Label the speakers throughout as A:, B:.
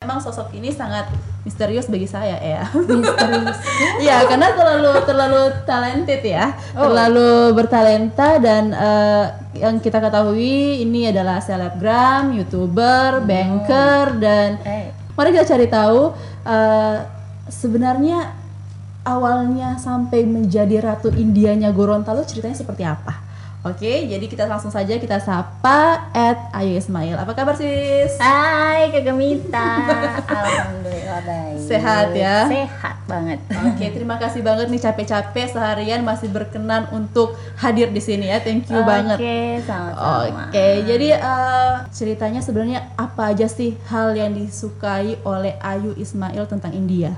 A: memang sosok ini sangat misterius bagi saya ya.
B: Misterius.
A: Iya, karena terlalu terlalu talented ya, terlalu bertalenta dan eh, yang kita ketahui ini adalah selebgram, youtuber, banker dan
B: Eh,
A: mari kita cari tahu eh, sebenarnya awalnya sampai menjadi ratu Indianya Gorontalo ceritanya seperti apa. Oke, jadi kita langsung saja kita sapa at Ayu Ismail. Apa kabar sis?
B: Hai kegemita, alhamdulillah baik.
A: Sehat ya?
B: Sehat banget.
A: Oke, terima kasih banget nih capek-capek seharian masih berkenan untuk hadir di sini ya. Thank you banget.
B: Oke,
A: Oke,
B: sama-sama.
A: jadi eh, ceritanya sebenarnya apa aja sih hal yang disukai oleh Ayu Ismail tentang India?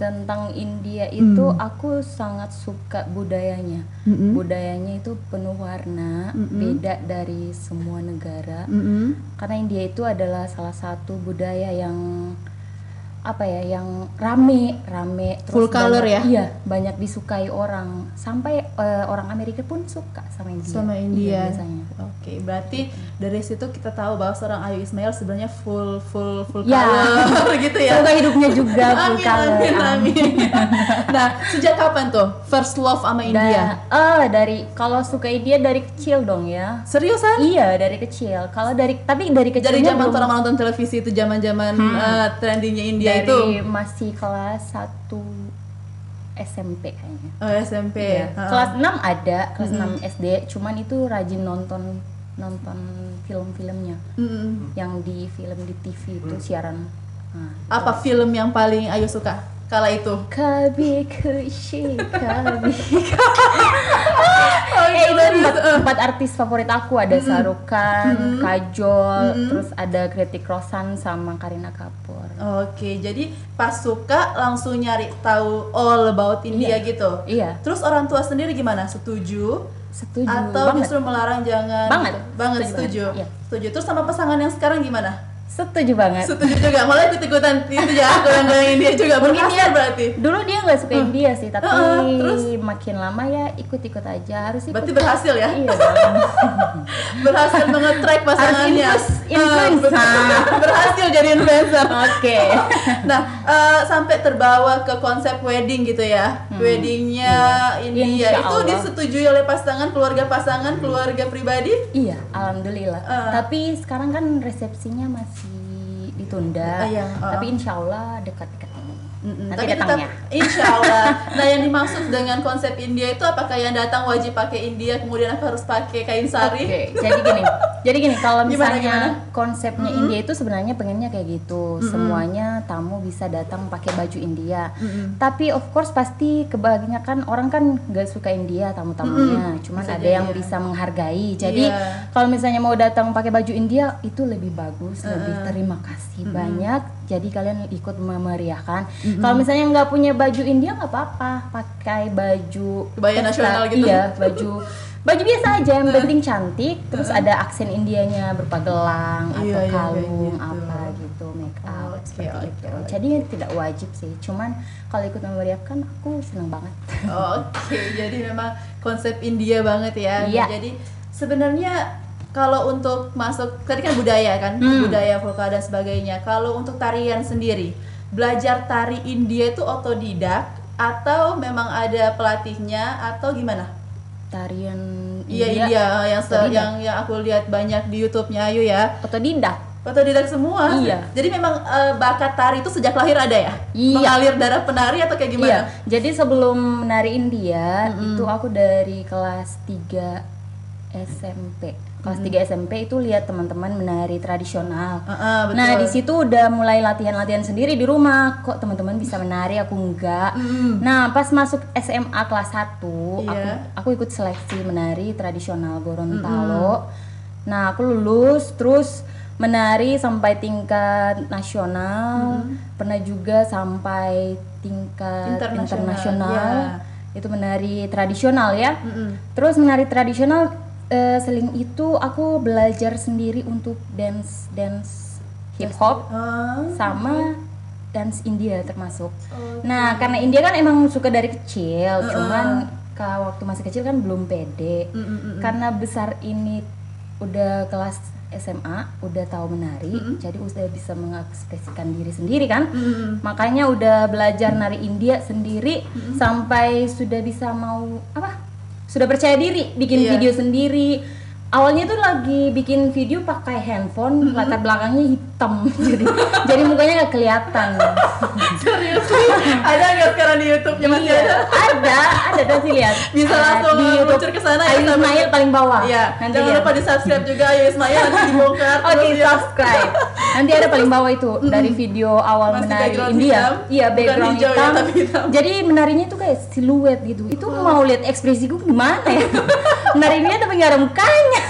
B: Tentang India
A: Hmm.
B: itu aku sangat suka budayanya.
A: Mm-mm.
B: Budayanya itu penuh warna,
A: Hmm.
B: beda dari semua negara.
A: Mm-mm.
B: Karena India itu adalah salah satu budaya yang apa ya yang rame rame
A: Full color
B: banyak-
A: ya?
B: iya banyak disukai orang sampai eh, orang Amerika pun suka sama India
A: Sama
B: Iya,
A: India.
B: biasanya
A: Oke, berarti dari situ kita tahu bahwa seorang Ayu Ismail sebenarnya full full full
B: Ya.
A: color gitu ya.
B: Semoga hidupnya juga full
A: Amin,
B: color.
A: amin, amin. nah, sejak kapan tuh first love sama India?
B: Da- eh, dari kalau suka India dari kecil dong ya.
A: Seriusan?
B: Iya dari kecil. Kalau dari tapi dari kecil
A: Dari Eh, zaman orang nonton televisi itu zaman-zaman eh, trendingnya India
B: Hmm. dari
A: itu
B: masih kelas 1 SMP kayaknya.
A: oh, SMP.
B: Iya.
A: Heeh.
B: Kelas 6 ada, kelas 6 SD, cuman itu rajin nonton nonton film-filmnya
A: Mm-mm.
B: yang di film di
A: Mm.
B: TV itu siaran. Nah,
A: Apa film yang paling Ayu suka kala itu?
B: Kabi kushi, kabi
A: Oh,
B: Eh, itu empat, empat artis favorit aku ada Sarukan, Kajol, terus ada Kritik Rosan sama Karina Kapoor.
A: Oke, jadi pas suka langsung nyari tahu all about India gitu.
B: Iya,
A: Terus orang tua sendiri gimana? Setuju?
B: setuju
A: Atau
B: banget.
A: justru melarang jangan?
B: Banget.
A: gitu? Banget
B: Setuju
A: setuju.
B: banget, iya. Eh.
A: Setuju. Terus sama pasangan yang sekarang gimana?
B: Setuju banget.
A: Setuju juga. Mulai ikut-ikutan itu ya, goyang-goyang India juga. Mungkin ya berarti.
B: Dulu dia nggak suka India sih, tapi
A: Mm. Heeh, terus?
B: makin lama ya ikut-ikut aja harus ikut.
A: Berarti berhasil ya?
B: Iya dong.
A: berhasil mengetrack pasangannya
B: Harus influence-
A: Eh,
B: influencer.
A: betul. berhasil jadi influencer
B: Oke.
A: nah eh, sampai terbawa ke konsep wedding gitu ya weddingnya India
B: Hmm. Iya. Ya, Insya
A: itu
B: Allah.
A: disetujui oleh pasangan keluarga pasangan keluarga pribadi
B: Iya, alhamdulillah.
A: Eh.
B: Tapi sekarang kan resepsinya masih ditunda.
A: Eh, iya, eh.
B: Tapi insya Allah dekat-dekat ini.
A: Mm-mm.
B: Nanti
A: tapi tetap
B: datangnya.
A: insya Allah nah yang dimaksud dengan konsep India itu apakah yang datang wajib pakai India kemudian aku harus pakai kain sari
B: Oke, jadi gini. Jadi gini, kalau
A: Gimana,
B: misalnya konsepnya India itu sebenarnya pengennya kayak gitu. Semuanya tamu bisa datang pakai baju India. Tapi of course pasti kebanyakan orang kan nggak suka India tamu-tamunya. Cuman
A: Bisa
B: ada
A: jadi
B: yang
A: ya.
B: bisa menghargai. Jadi
A: Iya.
B: kalau misalnya mau datang pakai baju India itu lebih bagus, lebih terima kasih banyak. Jadi kalian ikut memeriahkan. Kalau misalnya nggak punya baju India nggak apa-apa, pakai baju
A: Kebaya nasional gitu.
B: Iya, baju baju biasa aja yang penting cantik terus ada aksen Indianya berupa gelang atau
A: Iya, iya, kayak
B: kalung
A: gitu.
B: apa gitu make up
A: Oke,
B: seperti
A: oke,
B: itu
A: oke.
B: jadi ya tidak wajib sih cuman kalau ikut memeriahkan aku senang banget
A: Oke, jadi memang konsep India banget ya.
B: Iya.
A: Jadi sebenarnya kalau untuk masuk tadi kan budaya kan,
B: Hmm.
A: budaya vokal dan sebagainya. Kalau untuk tarian sendiri, belajar tari India itu otodidak atau memang ada pelatihnya atau gimana?
B: tarian
A: Iya
B: India
A: India yang se-
B: otodidak.
A: yang yang aku lihat banyak di YouTube-nya Ayu ya.
B: otodidak
A: Otodidak semua.
B: Iya.
A: Jadi memang eh, bakat tari itu sejak lahir ada ya?
B: Iya.
A: Mengalir darah penari atau kayak gimana?
B: iya jadi sebelum menari India itu aku dari kelas 3 SMP kelas 3 SMP itu lihat teman-teman menari tradisional
A: Heeh, betul.
B: Nah, di situ udah mulai latihan-latihan sendiri di rumah. Kok teman-teman bisa menari, aku enggak.
A: Mm-mm.
B: Nah, pas masuk SMA kelas 1,
A: Iya.
B: aku aku ikut seleksi menari tradisional Gorontalo. Nah, aku lulus terus menari sampai tingkat nasional, pernah juga sampai tingkat
A: Internasional,
B: internasional.
A: iya.
B: Itu menari tradisional ya.
A: Mm-mm.
B: Terus menari tradisional eh, seling itu aku belajar sendiri untuk dance dance hip hop
A: Ah.
B: sama dance India termasuk. Nah, karena India kan emang suka dari kecil, cuman kalau waktu masih kecil kan belum pede.
A: Mm-mm.
B: Karena besar ini udah kelas SMA udah tahu menari jadi udah bisa mengekspresikan diri sendiri kan makanya udah belajar nari India sendiri sampai sudah bisa mau apa sudah percaya diri bikin
A: Iya.
B: video sendiri awalnya tuh lagi bikin video pakai handphone latar belakangnya hitam jadi jadi mukanya nggak kelihatan
A: Serius ada nggak sekarang di YouTube-nya masih ada?
B: Iya, ada, ada tuh sih lihat.
A: Bisa
B: Ada
A: langsung
B: di YouTube.
A: meluncur ke sana ya,
B: Ayu
A: sampai-
B: Ismail paling bawah.
A: Iya,
B: nanti
A: jangan
B: lihat.
A: lupa di subscribe juga ya Ismail nanti dibongkar.
B: Oh, di
A: terus ya.
B: subscribe. Nanti ada paling bawah itu dari video awal
A: Masih
B: menari
A: background
B: India.
A: hitam,
B: Iya,
A: bukan
B: background
A: hijau ya,
B: hitam.
A: tapi hitam.
B: Jadi menarinya tuh kayak siluet gitu. Itu mau lihat ekspresi gue gimana ya? menarinya tapi nggak ada mukanya.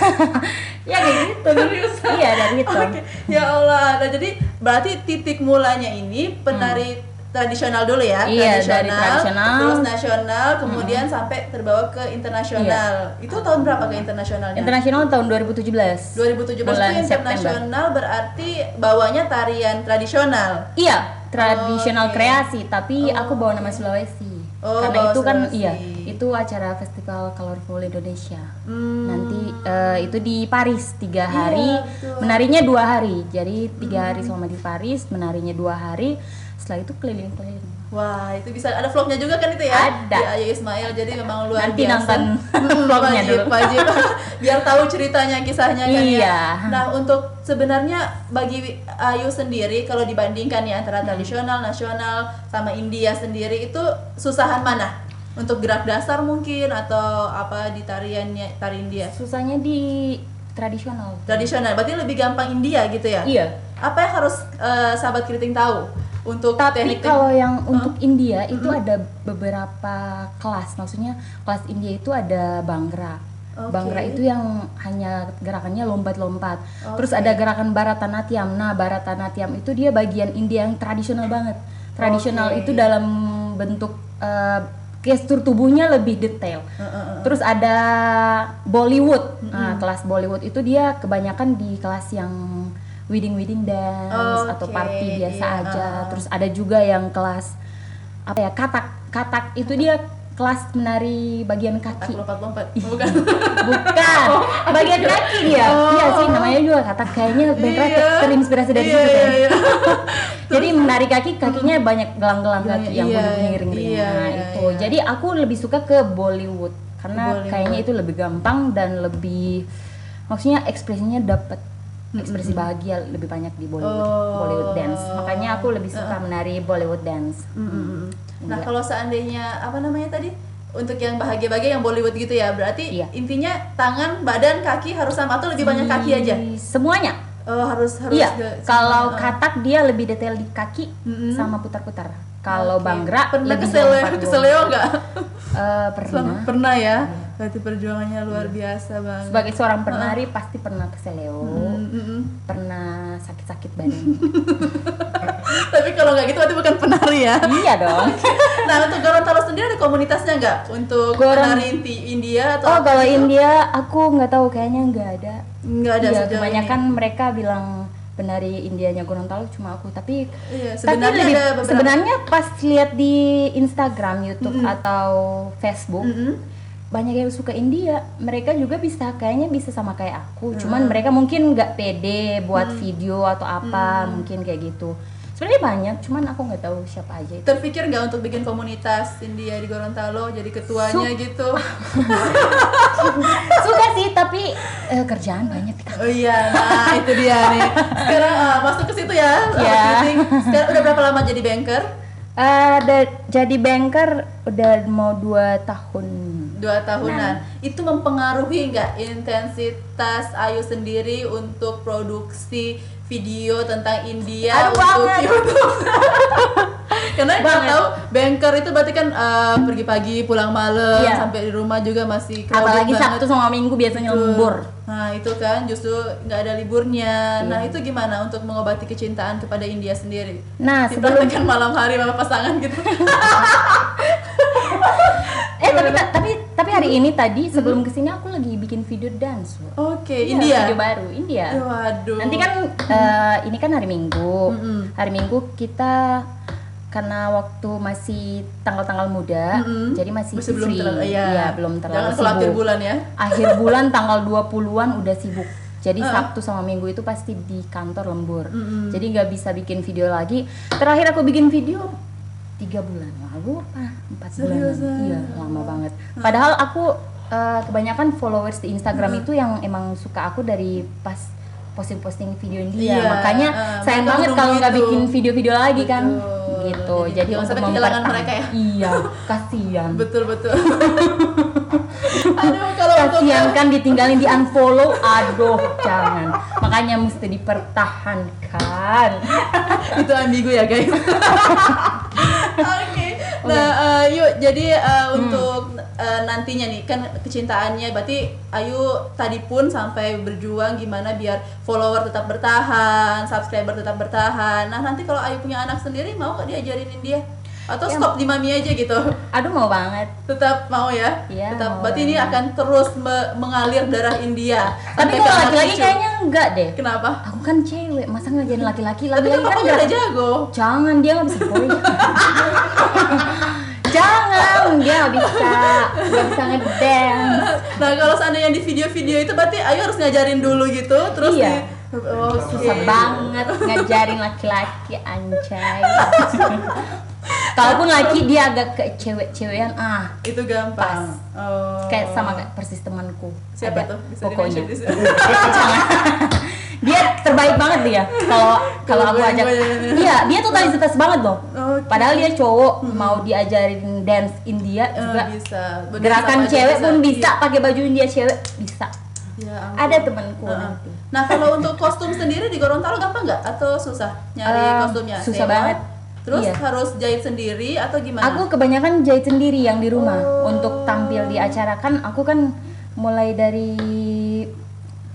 B: ya kayak gitu.
A: Serius?
B: Iya, dari itu.
A: Oke, ya Allah. Nah, jadi berarti titik mulanya ini penari tradisional dulu ya,
B: Hmm. Iya, dari tradisional. Hmm.
A: terus nasional, kemudian sampai terbawa ke internasional.
B: Iya.
A: Itu tahun berapa ke internasionalnya?
B: Internasional tahun 2017.
A: 2017
B: Bulan
A: itu
B: September.
A: internasional berarti bawanya tarian tradisional.
B: Iya, tradisional kreasi, tapi aku bawa nama Sulawesi.
A: Oh,
B: Karena
A: bawa
B: itu kan
A: Sulawesi.
B: iya, itu acara Festival Colorful Indonesia.
A: Hmm.
B: Nanti eh, itu di Paris tiga hari,
A: Iya, betul.
B: menarinya dua hari. Jadi tiga hari selama di Paris, menarinya dua hari. Setelah itu keliling-keliling.
A: Wah, itu bisa ada vlognya juga kan itu ya?
B: Ada.
A: Di Ayu Ismail. Jadi memang luar
B: Nanti
A: biasa.
B: nonton
A: Hmm,
B: vlognya
A: wajib,
B: dulu.
A: wajib. Biar tahu ceritanya, kisahnya kan
B: Iya.
A: ya. Nah, untuk sebenarnya bagi Ayu sendiri kalau dibandingkan ya antara
B: Hmm.
A: tradisional, nasional sama India sendiri itu susahan mana? Untuk gerak dasar mungkin atau apa di tariannya tari India?
B: Susahnya di tradisional.
A: Tradisional berarti lebih gampang India gitu ya?
B: Iya.
A: Apa yang harus eh, sahabat keriting tahu untuk
B: Tapi
A: teknik-teknik?
B: kalau yang untuk India itu ada beberapa kelas, maksudnya kelas India itu ada Bhangra.
A: Oke.
B: Bhangra itu yang hanya gerakannya lompat-lompat. Terus
A: Oke.
B: ada gerakan Bharatanatyam. Nah, Bharatanatyam itu dia bagian India yang tradisional banget. Tradisional
A: Oke.
B: itu dalam bentuk eh, gestur tubuhnya lebih detail. Terus ada Bollywood. Nah, kelas Bollywood itu dia kebanyakan di kelas yang wedding-wedding dance atau
A: Oke,
B: party biasa
A: iya,
B: aja.
A: ah, ah.
B: Terus ada juga yang kelas apa ya? Katak. Katak itu dia kelas menari bagian
A: Tak
B: kaki.
A: lompat-lompat. Bukan.
B: Bukan.
A: Oh.
B: bagian kaki dia. Iya sih namanya juga katak. Kayaknya mereka
A: Iya.
B: terinspirasi dari
A: Iya,
B: situ
A: iya,
B: kan.
A: iya.
B: Jadi menari kaki kakinya banyak gelang-gelang
A: Iya,
B: kaki yang
A: iya,
B: miring-miring.
A: iya,
B: Nah,
A: iya,
B: itu.
A: iya.
B: Jadi aku lebih suka ke Bollywood karena
A: Bollywood.
B: kayaknya itu lebih gampang dan lebih maksudnya ekspresinya dapat ekspresi bahagia lebih banyak di Bollywood
A: Oh.
B: Bollywood dance. Makanya aku lebih suka menari Bollywood dance.
A: Nah, kalau seandainya apa namanya tadi? Untuk yang bahagia-bahagia yang Bollywood gitu ya. Berarti
B: Iya.
A: intinya tangan, badan, kaki harus sama atau lebih banyak kaki aja?
B: Di Semuanya.
A: Oh, harus harus
B: Hmm. Iya.
A: ke- Oh,
B: Kalau
A: sama.
B: katak dia lebih detail di kaki
A: Mm-mm.
B: sama putar-putar. Kalau
A: Hmm. Oke.
B: banggra
A: pernah ke
B: lebih
A: Seleo,
B: lompat
A: ke
B: doang.
A: Seleo ya, nggak?
B: Eh, pernah. Iya.
A: Pernah ya. Berarti perjuangannya luar biasa banget.
B: Sebagai seorang penari pasti pernah ke Seleo.
A: Mm, mm, mm.
B: pernah sakit-sakit badan
A: Tapi kalau nggak gitu berarti bukan penari ya.
B: iya dong
A: nah untuk Gorontalo sendiri ada komunitasnya nggak untuk
B: Goron-
A: penari Inti- India atau
B: oh kalau India aku nggak tahu kayaknya nggak ada
A: nggak ada
B: Iya,
A: sejauh
B: kebanyakan mereka bilang penari Indianya Gorontalo cuma aku tapi
A: ini? Iya,
B: tapi
A: sebenarnya
B: lebih-
A: ada beberapa
B: sebenarnya pas lihat di Instagram YouTube
A: Hmm.
B: atau Facebook
A: Mm-mm.
B: banyak yang suka India mereka juga bisa kayaknya bisa sama kayak aku cuman
A: Hmm.
B: mereka mungkin nggak pede buat video atau apa
A: Hmm.
B: mungkin kayak gitu sebenarnya banyak cuman aku nggak tahu siapa aja itu
A: terpikir nggak untuk bikin komunitas India di Gorontalo jadi ketuanya gitu
B: suka sih tapi eh, kerjaan banyak kita
A: oh iya nah itu dia nih sekarang ah, masuk ke situ ya ah,
B: Iya.
A: meeting. sekarang udah berapa lama jadi banker
B: ada Eh, jadi banker udah mau dua tahun
A: dua
B: Nah.
A: tahunan itu mempengaruhi nggak intensitas Ayu sendiri untuk produksi video tentang India
B: Aduh,
A: untuk
B: banget.
A: YouTube karena kita
B: Banget.
A: tahu banker itu berarti kan eh, pergi pagi pulang malam
B: Iya.
A: sampai di rumah juga masih crowded
B: apalagi
A: banget.
B: sabtu sama minggu biasanya lembur
A: Nah itu kan justru nggak ada liburnya.
B: Iya.
A: Nah itu gimana untuk mengobati kecintaan kepada India sendiri?
B: nah sebelum
A: Dipraktekkan malam hari sama pasangan gitu.
B: eh tapi ta- tapi tapi
A: Hmm.
B: hari ini tadi sebelum kesini aku lagi bikin video dance loh.
A: Oke
B: Iya,
A: India.
B: video baru India
A: Ya, waduh.
B: nanti kan eh, ini kan hari minggu
A: Mm-mm.
B: hari minggu kita karena waktu masih tanggal-tanggal muda
A: Mm-mm.
B: jadi masih
A: Masih belum
B: free
A: terlalu. Iya.
B: Iya, belum terlalu
A: Jangan khawatir
B: sibuk.
A: bulan ya.
B: akhir bulan tanggal 20-an udah sibuk Jadi Sabtu sama Minggu itu pasti di kantor lembur.
A: Mm-mm.
B: Jadi nggak bisa bikin video lagi. Terakhir aku bikin video tiga bulan lalu apa empat bulan
A: Seriusan?
B: iya lama banget padahal aku eh, kebanyakan followers di Instagram itu yang emang suka aku dari pas posting-posting video dia
A: Iya,
B: makanya
A: eh,
B: sayang
A: mereka
B: banget
A: nunggu
B: kalau nggak
A: itu.
B: bikin video-video lagi kan
A: Betul.
B: gitu
A: Jadi
B: jadi
A: jangan
B: untuk
A: sampai kehilangan
B: memperta-
A: mereka ya.
B: iya kasihan
A: betul betul aduh kalau untuk
B: kasihan kan ditinggalin di unfollow aduh jangan makanya mesti dipertahankan
A: itu ambigu ya guys oke nah eh, yuk jadi eh,
B: Hmm.
A: untuk eh, nantinya nih kan kecintaannya berarti Ayu tadi pun sampai berjuang gimana biar follower tetap bertahan subscriber tetap bertahan nah nanti kalau Ayu punya anak sendiri mau nggak diajarinin dia atau
B: Ya.
A: stop di mami aja gitu
B: aduh mau banget
A: tetap mau ya
B: Iya,
A: tetap
B: mau
A: berarti ini akan terus me- mengalir darah India Kan sampai
B: tapi
A: ke
B: kalau
A: anak
B: laki-laki
A: cucu.
B: kayaknya enggak deh
A: kenapa
B: aku kan cewek masa ngajarin laki-laki
A: tapi kan
B: laki-laki kan
A: papa
B: enggak
A: udah jago
B: jangan dia nggak bisa boy jangan dia nggak bisa nggak bisa ngedance
A: Nah kalau seandainya di video-video itu berarti Ayu harus ngajarin dulu gitu terus
B: Iya.
A: di Oh, oke.
B: susah banget ngajarin laki-laki anjay kalaupun laki dia agak ke cewek-cewekan ah
A: Itu gampang. Oh.
B: kayak sama kayak persis temanku
A: siapa
B: Ada
A: tuh? Bisa
B: pokoknya
A: di-mention di sini.
B: dia terbaik banget dia kalau kalau aku
A: Gue-
B: ajak
A: gue- gue-
B: iya dia tuh totalitas banget loh
A: Oh, Oke.
B: padahal dia cowok
A: Hmm.
B: mau diajarin dance
A: Eh,
B: India juga
A: bisa. Bener,
B: gerakan
A: sama aja
B: cewek pun bisa pakai baju India cewek bisa
A: Iya. Ya ampun.
B: ada temanku
A: Heeh.
B: nanti
A: Nah kalau untuk kostum sendiri di Gorontalo gampang nggak atau susah nyari
B: Eh,
A: kostumnya?
B: susah
A: Sewa?
B: banget.
A: Terus
B: Iya.
A: harus jahit sendiri atau gimana? Oh.
B: aku kebanyakan jahit sendiri yang di rumah untuk tampil di acara kan aku kan mulai dari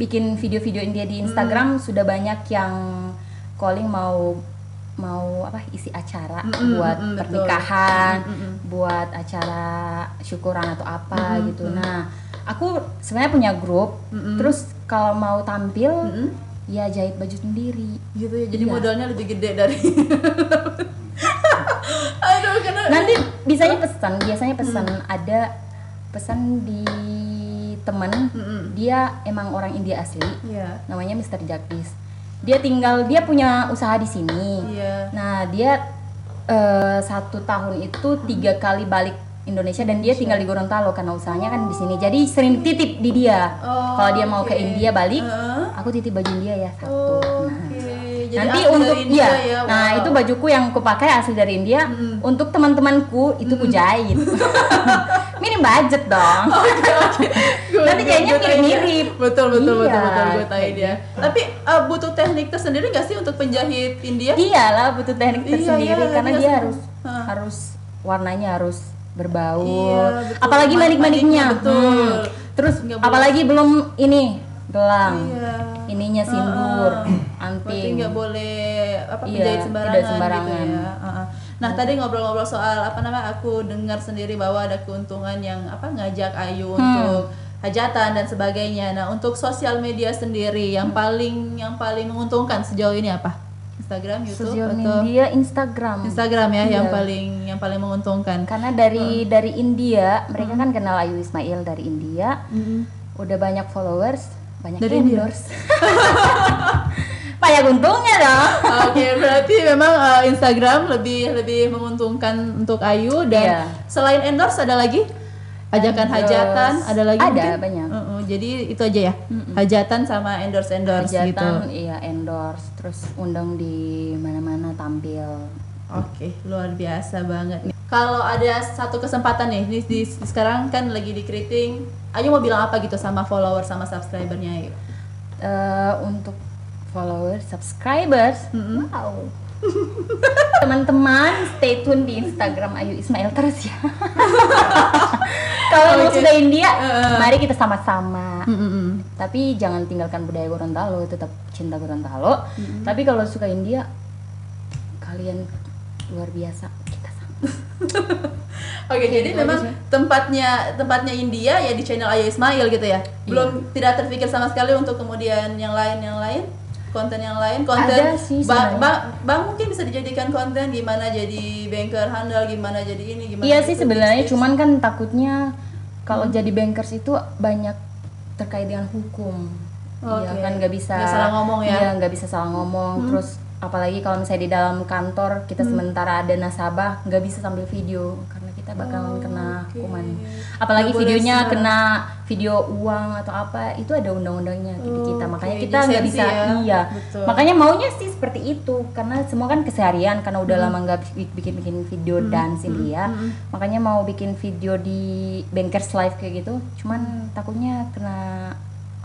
B: bikin video-video India di
A: Hmm.
B: Instagram sudah banyak yang calling mau mau apa isi acara
A: Mm-mm,
B: buat
A: mm, betul.
B: pernikahan
A: Mm, mm,
B: buat acara syukuran atau
A: Hmm,
B: apa gitu nah aku sebenarnya punya grup
A: Mm-mm.
B: terus kalau mau tampil
A: Mm-mm.
B: ya jahit baju sendiri
A: gitu ya. Jadi
B: Iya.
A: modalnya lebih gede dari. Aduh karena
B: nanti bisanya pesan biasanya pesan
A: Hmm.
B: ada pesan di temen
A: Mm-mm.
B: dia emang orang India asli
A: Iya.
B: namanya Mr. Jagdis dia tinggal dia punya usaha di sini
A: Iya.
B: nah dia eh, satu tahun
A: Hmm.
B: itu tiga kali balik Indonesia dan dia tinggal di Gorontalo karena usahanya kan di sini jadi sering titip di dia
A: Hmm. Oh,
B: kalau dia mau
A: oke.
B: ke India balik
A: Heeh. Oh.
B: aku titip baju India ya satu
A: Oke, jadi
B: nah nanti
A: asli dari
B: untuk
A: India
B: iya.
A: ya,
B: nah
A: wow.
B: itu bajuku yang kupakai asli dari India untuk teman-temanku itu kujahit minim budget dong
A: Oh, Gua-
B: nanti
A: gua-
B: kayaknya
A: gua tanya.
B: mirip-mirip.
A: Betul betul betul
B: Iya,
A: betul gue tahu
B: kayak
A: dia. Tapi eh, butuh teknik tersendiri nggak sih untuk penjahit India?
B: iyalah butuh teknik
A: Iya,
B: tersendiri
A: iya,
B: karena
A: iya,
B: dia
A: iya.
B: harus
A: Hah.
B: harus warnanya harus
A: Iya,
B: berbaur
A: betul.
B: apalagi manik-maniknya Hmm.
A: Manik-maniknya, betul.
B: terus
A: Nggak boleh.
B: apalagi belum ini gelang
A: Iya.
B: ininya sindur
A: Heeh. Berarti
B: anting
A: nggak boleh apa
B: Iya,
A: penjahit
B: tidak
A: sembarangan,
B: sembarangan.
A: gitu ya. Heeh. Nah tadi ngobrol-ngobrol soal apa namanya aku dengar sendiri bahwa ada keuntungan yang apa ngajak
B: Hmm.
A: Ayu untuk hajatan dan sebagainya. Nah untuk sosial media sendiri
B: Hmm.
A: yang paling yang paling menguntungkan sejauh ini apa? Instagram, YouTube,
B: sosial
A: atau
B: media Instagram
A: Instagram ya yang
B: Iya.
A: paling yang paling menguntungkan.
B: karena dari dari India mereka kan kenal Ayu Ismail dari India udah banyak followers banyak
A: Dari India?
B: endorse banyak untungnya dong
A: Oke, berarti memang uh, Instagram lebih lebih menguntungkan untuk Ayu dan
B: Iya.
A: selain endorse ada lagi ajakan
B: Endorse.
A: hajatan ada lagi
B: Ada,
A: mungkin?
B: banyak.
A: Mm-mm, jadi itu aja ya hajatan sama endorse endorse gitu.
B: hajatan iya endorse terus undang di mana-mana tampil
A: Oke, luar biasa banget nih. Kalau ada satu kesempatan nih, ini di, di- sekarang kan lagi di keriting, Ayu mau bilang apa gitu sama follower sama subscribernya Ayu?
B: Eh, untuk followers subscribers wow teman-teman stay tune di Instagram Ayu Ismail terus ya kalau mau
A: Oke.
B: sudah India mari kita sama-sama
A: Mm-mm.
B: tapi jangan tinggalkan budaya Gorontalo tetap cinta Gorontalo tapi kalau suka India kalian luar biasa kita sama
A: Oke, jadi
B: itu
A: memang
B: aja
A: tempatnya tempatnya India ya di channel Ayu Ismail gitu ya.
B: Iya.
A: Belum tidak terpikir sama sekali untuk kemudian yang lain yang lain konten yang lain konten
B: Ada sih
A: ba-
B: sebenarnya.
A: ba- bang mungkin bisa dijadikan konten gimana jadi banker handal gimana jadi ini gimana gitu,
B: iya
A: jadi
B: sih
A: itu,
B: sebenarnya
A: tips-tips.
B: cuman kan takutnya kalau jadi bankers itu banyak terkait dengan hukum Iya
A: Oke.
B: kan nggak bisa
A: Nggak salah ngomong ya? Hmm.
B: Iya nggak bisa salah ngomong. Terus apalagi kalau misalnya di dalam kantor kita sementara ada nasabah nggak bisa sambil video karena kita bakalan kena hukuman.
A: Oh, Nggak
B: Apalagi
A: boleh
B: videonya
A: sembarang.
B: kena video uang atau apa itu ada undang-undangnya di kita. Makanya
A: Oh, Oke,
B: kita nggak
A: disensi
B: bisa
A: ya.
B: iya.
A: Betul.
B: Makanya maunya sih seperti itu karena semua kan keseharian karena udah
A: Mm-hmm.
B: lama nggak bi- bikin-bikin video dan sih dia. Makanya mau bikin video di Bankers Live kayak gitu. Cuman
A: Mm-hmm.
B: takutnya kena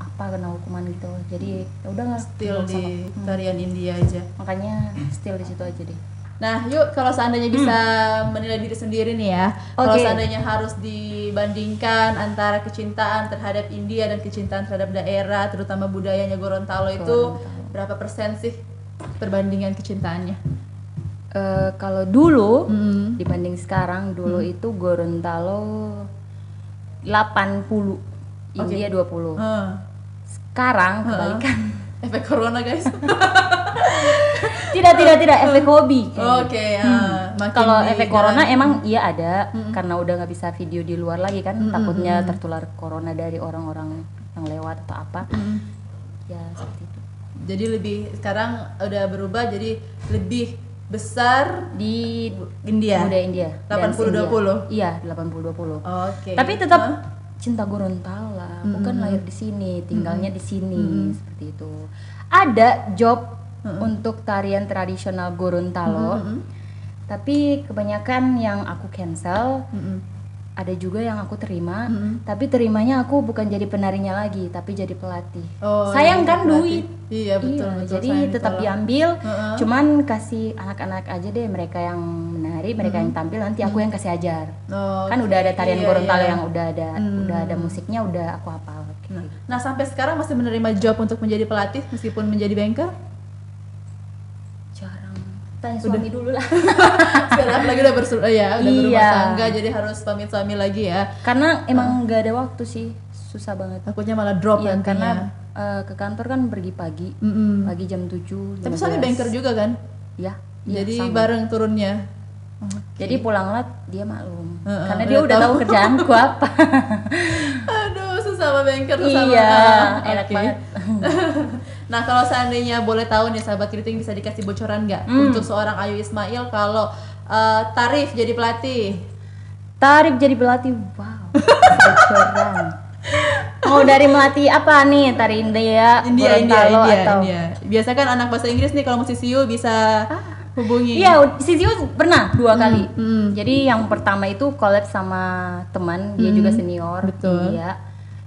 B: apa kena hukuman gitu. Jadi ya udah nggak
A: Still
B: nggak usah.
A: di tarian India aja.
B: Makanya still di situ aja deh.
A: Nah, yuk kalau seandainya bisa menilai diri sendiri nih ya. Kalau
B: Hmm. Oke.
A: seandainya harus dibandingkan antara kecintaan terhadap India dan kecintaan terhadap daerah, terutama budayanya Gorontalo itu
B: Gorontalo.
A: berapa persen sih perbandingan kecintaannya?
B: Eh, kalau dulu
A: Hmm.
B: dibanding sekarang dulu
A: Mm-hmm.
B: itu Gorontalo 80 India 20. Sekarang kebalikan.
A: Efek corona, guys.
B: tidak tidak tidak efek hobi. kayaknya.
A: Oke, ya. Makin
B: Hmm. Kalau
A: di
B: efek
A: dalam-
B: corona emang iya ada karena udah nggak bisa video di luar lagi kan takutnya tertular corona dari orang-orang yang lewat atau apa. Ya seperti itu.
A: jadi lebih sekarang udah berubah jadi lebih besar
B: Di
A: India.
B: budaya India. dance
A: 80-20?
B: India. Iya, 80 20.
A: Oke.
B: Tapi tetap cinta Gorontalo lah. Aku kan lahir di sini, tinggalnya di sini seperti itu. Ada job untuk tarian tradisional Gorontalo. Tapi kebanyakan yang aku cancel
A: Mm-mm.
B: ada juga yang aku terima
A: Mm-mm.
B: tapi terimanya aku bukan jadi penarinya lagi tapi jadi pelatih
A: Oh,
B: sayang
A: iya,
B: kan
A: berarti.
B: duit
A: Iya betul
B: Iya,
A: betul.
B: jadi
A: sayang
B: tetap
A: ditolak.
B: diambil
A: Heeh.
B: cuman kasih anak-anak aja deh mereka yang menari mereka yang tampil nanti aku yang kasih ajar
A: Mm-hmm. Oh,
B: kan udah ada tarian
A: iya,
B: Gorontalo
A: iya.
B: yang udah ada
A: Hmm.
B: udah ada musiknya udah aku hafal kayak
A: Nah,
B: gitu.
A: nah, sampai sekarang masih menerima job untuk menjadi pelatih meskipun menjadi banker?
B: jarang tanya suami dulu lah
A: Sekarang lagi udah bersul eh, ya, udah berumah
B: Iya.
A: tangga jadi harus suami-suami lagi ya.
B: karena emang nggak ada waktu sih susah banget
A: Takutnya malah drop
B: Iya,
A: nantinya.
B: karena eh, ke kantor kan pergi pagi
A: Mm-mm.
B: pagi jam 7
A: Mm-hmm. Tapi suami banker juga kan?
B: ya
A: jadi
B: sama.
A: bareng turunnya.
B: Jadi pulang lat dia maklum
A: Heeh,
B: karena dia udah tahu kerjaanku apa.
A: Aduh, susah sama banker tuh sama.
B: iya,
A: Ah,
B: enak
A: oke.
B: banget.
A: nah, kalau seandainya boleh tahu nih sahabat keriting bisa dikasih bocoran nggak
B: Hmm.
A: untuk seorang Ayu Ismail kalau eh, tarif jadi pelatih?
B: Tarif jadi pelatih, wow. Bocoran. Mau dari melatih apa nih? Tari India,
A: India, India,
B: Gorontalo,
A: India,
B: atau
A: India. Biasa kan anak bahasa Inggris nih kalau mau CCU bisa hubungi.
B: Ah. Iya, Sisiu pernah dua kali.
A: mm.
B: Jadi yang pertama itu collab sama teman, dia juga senior,
A: Hmm, betul.
B: India.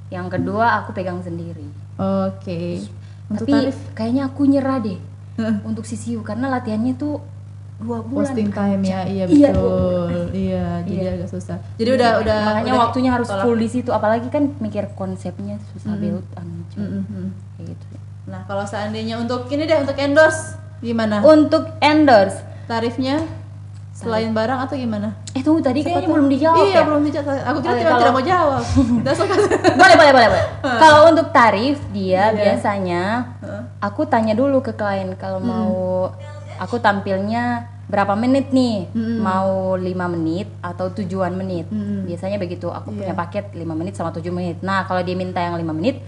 B: Yang kedua aku pegang sendiri.
A: Oke. Untuk
B: Tapi
A: tarif
B: kayaknya aku nyerah deh
A: Heeh.
B: untuk Sisiu karena latihannya tuh dua bulan.
A: posting time ya, iya
B: Iya,
A: betul. Iya, jadi agak susah. Jadi udah udah
B: makanya
A: udah-
B: waktunya harus full di situ apalagi kan mikir konsepnya
A: Hmm.
B: susah banget anjir.
A: Mm, mm.
B: Kayak gitu
A: Nah, kalau seandainya untuk ini deh untuk endorse gimana?
B: Nah, untuk endorse
A: Tarifnya selain barang atau gimana?
B: eh tunggu tadi kayaknya belum dijawab
A: iya,
B: ya
A: belum dijawab. Aku kira
B: Oke,
A: tidak,
B: kalau-
A: tidak mau jawab. kan- That's okay.
B: boleh boleh boleh boleh kalau untuk tarif dia
A: Iya.
B: biasanya aku tanya dulu ke klien kalau
A: Hmm.
B: mau aku tampilnya berapa menit nih
A: Hmm.
B: mau lima menit atau tujuan menit biasanya begitu aku
A: Iya.
B: punya paket lima menit sama tujuh menit nah kalau dia minta yang lima menit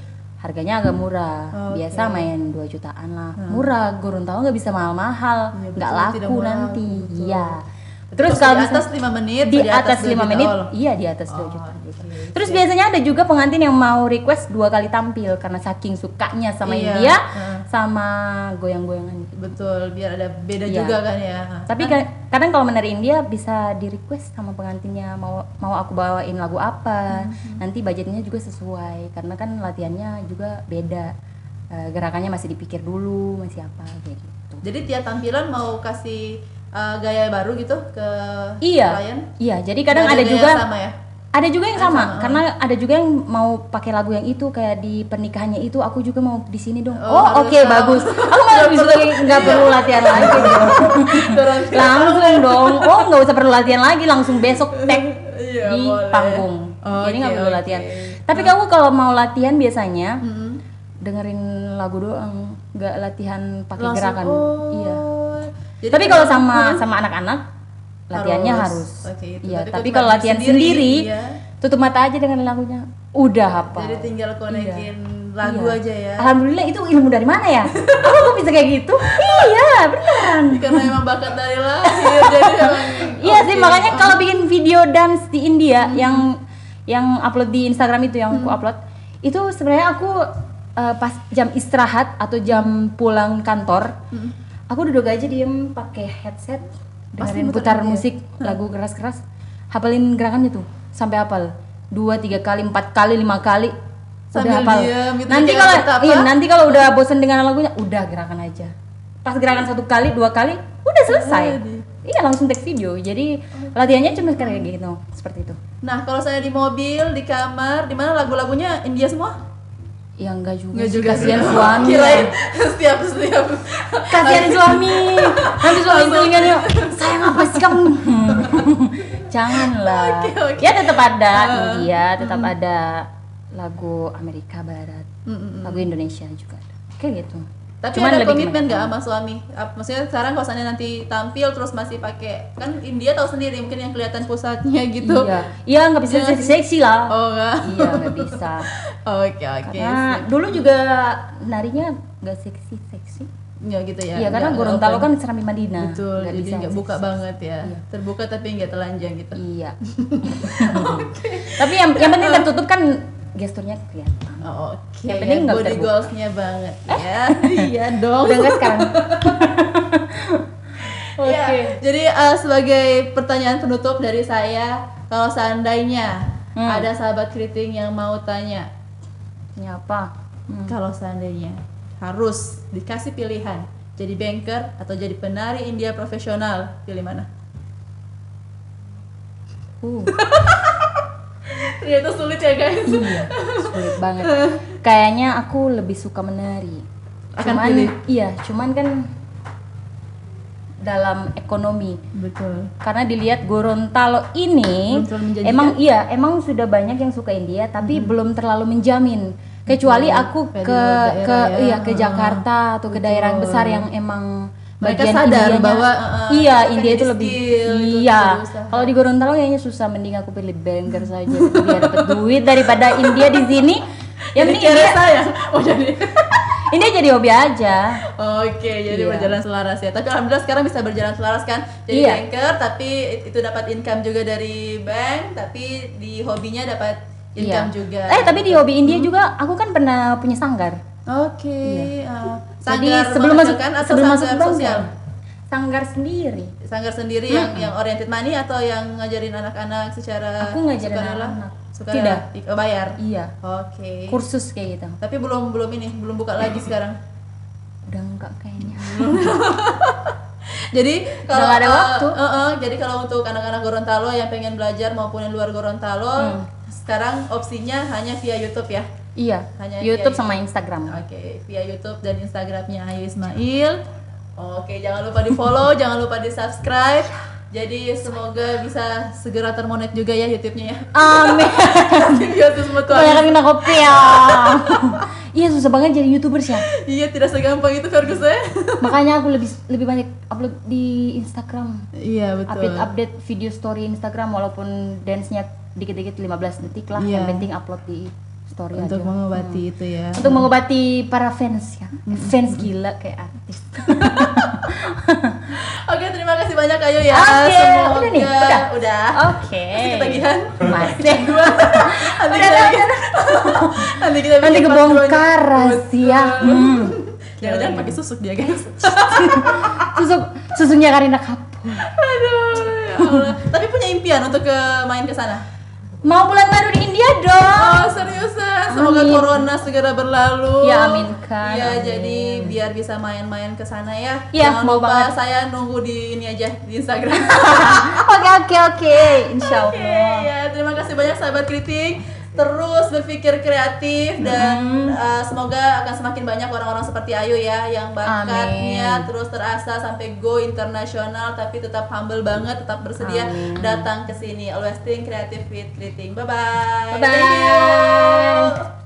B: harganya
A: Hmm.
B: agak murah
A: Oh,
B: biasa main 2 jutaan lah murah Gorontalo nggak bisa mahal-mahal
A: Iya,
B: nggak
A: betul, tidak
B: laku
A: murah,
B: nanti
A: betul.
B: iya
A: Tapi
B: terus
A: pas
B: kalau
A: di
B: misalnya-
A: atas lima menit,
B: di
A: di atas
B: atas
A: dua
B: 5
A: juta
B: menit
A: tolong.
B: iya di atas 2
A: Oh,
B: juta gitu.
A: oke.
B: terus biasanya ada juga pengantin yang mau request dua kali tampil karena saking sukanya sama
A: Iya,
B: India
A: heeh.
B: sama goyang-goyangan gitu.
A: Betul, biar ada beda
B: Iya.
A: juga kan ya.
B: tapi ka- kadang kalau menari India bisa di request sama pengantinnya mau mau aku bawain lagu apa
A: Hmm.
B: nanti budgetnya juga sesuai karena kan latihannya juga beda Eh, gerakannya masih dipikir dulu masih apa kayak gitu
A: Jadi tiap tampilan mau kasih uh, gaya baru gitu ke
B: iya
A: klien?
B: iya jadi kadang
A: Nggak
B: ada
A: gaya
B: juga
A: yang sama ya.
B: Ada juga yang sama, karena ada juga yang mau pakai lagu yang itu kayak di pernikahannya itu aku juga mau di sini dong.
A: Oh,
B: Oh,
A: harus
B: oke
A: tahu.
B: bagus. Aku mau di sini nggak perlu latihan lagi gitu. dong. langsung dong. Oh nggak usah perlu latihan lagi, langsung besok tag
A: Iya,
B: di
A: boleh.
B: panggung.
A: Oke,
B: Jadi nggak perlu
A: oke. Hmm.
B: latihan. Tapi kamu kalau mau latihan biasanya dengerin lagu doang, nggak latihan pakai
A: Langsung,
B: gerakan.
A: oh.
B: Iya.
A: Jadi
B: Tapi kalau sama sama anak-anak latihannya
A: Harus.
B: harus.
A: Oke, itu.
B: Iya,
A: Tapi
B: tapi
A: kalau
B: kalau latihan
A: sendiri,
B: sendiri,
A: iya.
B: tutup mata aja dengan lagunya. Udah apa?
A: Jadi tinggal konekin lagu
B: Iya.
A: aja ya.
B: Alhamdulillah itu ilmu dari mana ya? Aku kok bisa kayak gitu? iya, beneran.
A: Karena emang bakat dari lahir jadi emang. gitu.
B: Iya sih, makanya kalau bikin video dance di India yang yang upload di Instagram itu yang aku upload, itu sebenarnya aku eh, pas jam istirahat atau jam pulang kantor, aku duduk aja diem pakai headset,
A: Pasti
B: dengerin
A: muter
B: putar
A: aja.
B: musik lagu keras-keras, hafalin gerakannya tuh sampai hafal dua tiga kali empat kali lima kali
A: Sambil
B: udah hafal.
A: diem gitu,
B: nanti
A: jangan
B: kalau
A: betapa.
B: iya, nanti kalau udah bosen dengan lagunya udah gerakan aja pas gerakan satu kali dua kali udah selesai iya langsung take video jadi latihannya cuma kayak gitu seperti itu
A: Nah kalau saya di mobil, di kamar, di mana lagu-lagunya India semua?
B: ya enggak juga
A: Nggak
B: sih, kasihan suami
A: Kirain setiap setiap.
B: kasihan suami nanti suami selingan yuk sayang apa sih kamu janganlah
A: Oke, oke.
B: ya tetap ada India tetap ada lagu Amerika Barat
A: Mm, mm, mm.
B: lagu Indonesia juga ada. kayak gitu
A: Tapi
B: Cuman
A: ada
B: lebih
A: komitmen
B: gimana?
A: nggak sama suami? Ap- Maksudnya sekarang kalau seandainya nanti tampil terus masih pakai kan India tahu sendiri mungkin yang kelihatan pusatnya gitu.
B: iya iya nggak bisa
A: Jangan-
B: seksi seksi lah
A: Oh enggak.
B: iya nggak bisa
A: Oke oke.
B: karena dulu juga narinya nggak seksi seksi
A: Enggak gitu ya.
B: iya karena
A: nggak-
B: Gorontalo
A: nggak
B: kan Serambi Madinah
A: open. betul
B: nggak
A: jadi
B: bisa
A: nggak
B: yang
A: buka
B: seksi-seksi.
A: banget ya.
B: Iya.
A: Terbuka tapi nggak telanjang gitu.
B: iya tapi yang yang penting tertutup kan gesturnya kelihatan
A: Oh, oke.
B: Yang penting nggak
A: body
B: terbuka. Eh.
A: goalsnya banget ya.
C: iya dong
B: udah nggak sekarang Iya.
C: Oke.
A: Ya, jadi eh, sebagai pertanyaan penutup dari saya, kalau seandainya
B: Hmm.
A: ada sahabat keriting yang mau tanya,
B: ini apa Hmm.
A: kalau seandainya harus dikasih pilihan jadi banker atau jadi penari India profesional, pilih mana?
B: Uh,
A: Ya itu sulit ya guys.
B: iya sulit banget kayaknya aku lebih suka menari
A: Akan
B: cuman
A: pilih.
B: iya cuman kan dalam ekonomi
A: Betul.
B: karena dilihat Gorontalo ini
A: Belum terlalu menjanjikan. Mm-hmm.
B: emang iya emang sudah banyak yang suka India tapi belum terlalu menjamin kecuali aku
A: Kayak di
B: ke
A: luar
B: ke
A: daerah ya.
B: iya ke Jakarta atau ke daerah yang besar yang emang
A: Mereka
B: bagian
A: sadar
B: Indianya-
A: bahwa, uh,
B: iya
A: kan
B: India
A: jadi
B: itu lebih
A: skill, itu
B: iya
A: jadi usaha.
B: kalau di Gorontalo kayaknya susah mending aku pilih banker saja biar dapat duit daripada India di sini
A: Jadi
B: ya mending
A: kira
B: India,
A: saya. Oh jadi.
B: India jadi hobi aja
A: Oke, jadi
B: Iya.
A: berjalan selaras ya. Tapi alhamdulillah sekarang bisa berjalan selaras kan. Jadi
B: Iya.
A: banker, tapi itu dapat income juga dari bank, tapi di hobinya dapat income juga.
B: eh tapi di hobi India juga aku kan pernah punya sanggar
A: Oke. ah.
B: Jadi
A: Sanggar
B: sebelum masuk
A: masakan atau
B: sebelum masuk
A: sanggar
B: bank
A: sosial?
B: sanggar sendiri.
A: Sanggar sendiri yang yang oriented money atau yang ngajarin anak-anak secara
B: Aku ngajarin
A: sukarela?
B: anak-anak.
A: Sukarela?
B: Tidak.
A: Ik- oh, bayar.
B: Iya,
A: Oke.
B: kursus kayak gitu.
A: Tapi belum belum ini, belum buka lagi
B: Iya.
A: sekarang.
B: Udah enggak kayaknya.
A: Jadi kalau
B: nggak ada
A: eh,
B: waktu.
A: eh, eh, jadi kalau untuk anak-anak Gorontalo yang pengen belajar maupun yang luar
B: Hmm.
A: Gorontalo, sekarang opsinya hanya via YouTube ya.
B: Iya,
A: Hanya
B: YouTube
A: kiai.
B: sama Instagram.
A: Oke, via YouTube dan Instagramnya Ayu Ismail. Oke, jangan lupa di follow, jangan lupa di subscribe. Jadi semoga bisa segera termonet juga ya YouTube-nya ya.
B: Amin.
A: Simbiosis mutualisme.
B: Kebanyakan minta kopi ya. Iya susah banget jadi youtubers ya.
A: Iya, tidak segampang itu Fergus ya.
B: Makanya aku lebih lebih banyak upload di Instagram.
A: Iya, betul.
B: Update update video story Instagram walaupun dance-nya dikit-dikit 15 detik lah.
A: Iya.
B: Yang penting upload di story
A: Untuk
B: aja. Hmm.
A: mengobati itu ya.
B: Untuk mengobati para fans ya. Fans gila kayak artis.
A: Oke, terima kasih banyak Ayu ya.
B: Oke,
A: Semoga
B: udah nih, udah.
A: udah.
B: Oke.
A: Masih ketagihan?
B: Masih.
A: Gua- nanti kita nanti kita
B: Nanti
A: bikin
B: kebongkar
A: part dua.
B: rahasia.
A: Betul.
B: Hmm.
A: Jangan-jangan pakai susuk dia guys.
B: Susuk susunya Karina kapur.
A: Aduh, ya Allah. Tapi punya impian untuk ke main ke sana.
B: Mau bulan baru di India
A: Oh
B: dong.
A: seriusan, semoga
B: Amin.
A: corona segera berlalu.
B: Ya, aminkan,
A: Iya,
B: amin.
A: jadi biar bisa main-main ke sana ya.
B: Iya,
A: Jangan
B: mau
A: lupa
B: banget.
A: saya nunggu di ini aja di Instagram.
B: Oke oke oke. Insya
A: Oh. Oke,
B: Allah.
A: ya terima kasih banyak sahabat kritik. Terus berpikir kreatif dan uh, semoga akan semakin banyak orang-orang seperti Ayu ya yang bakatnya terus terasa sampai go internasional tapi tetap humble banget, tetap bersedia datang ke sini. Always think creative with Kriting. Bye bye.
B: Bye-bye.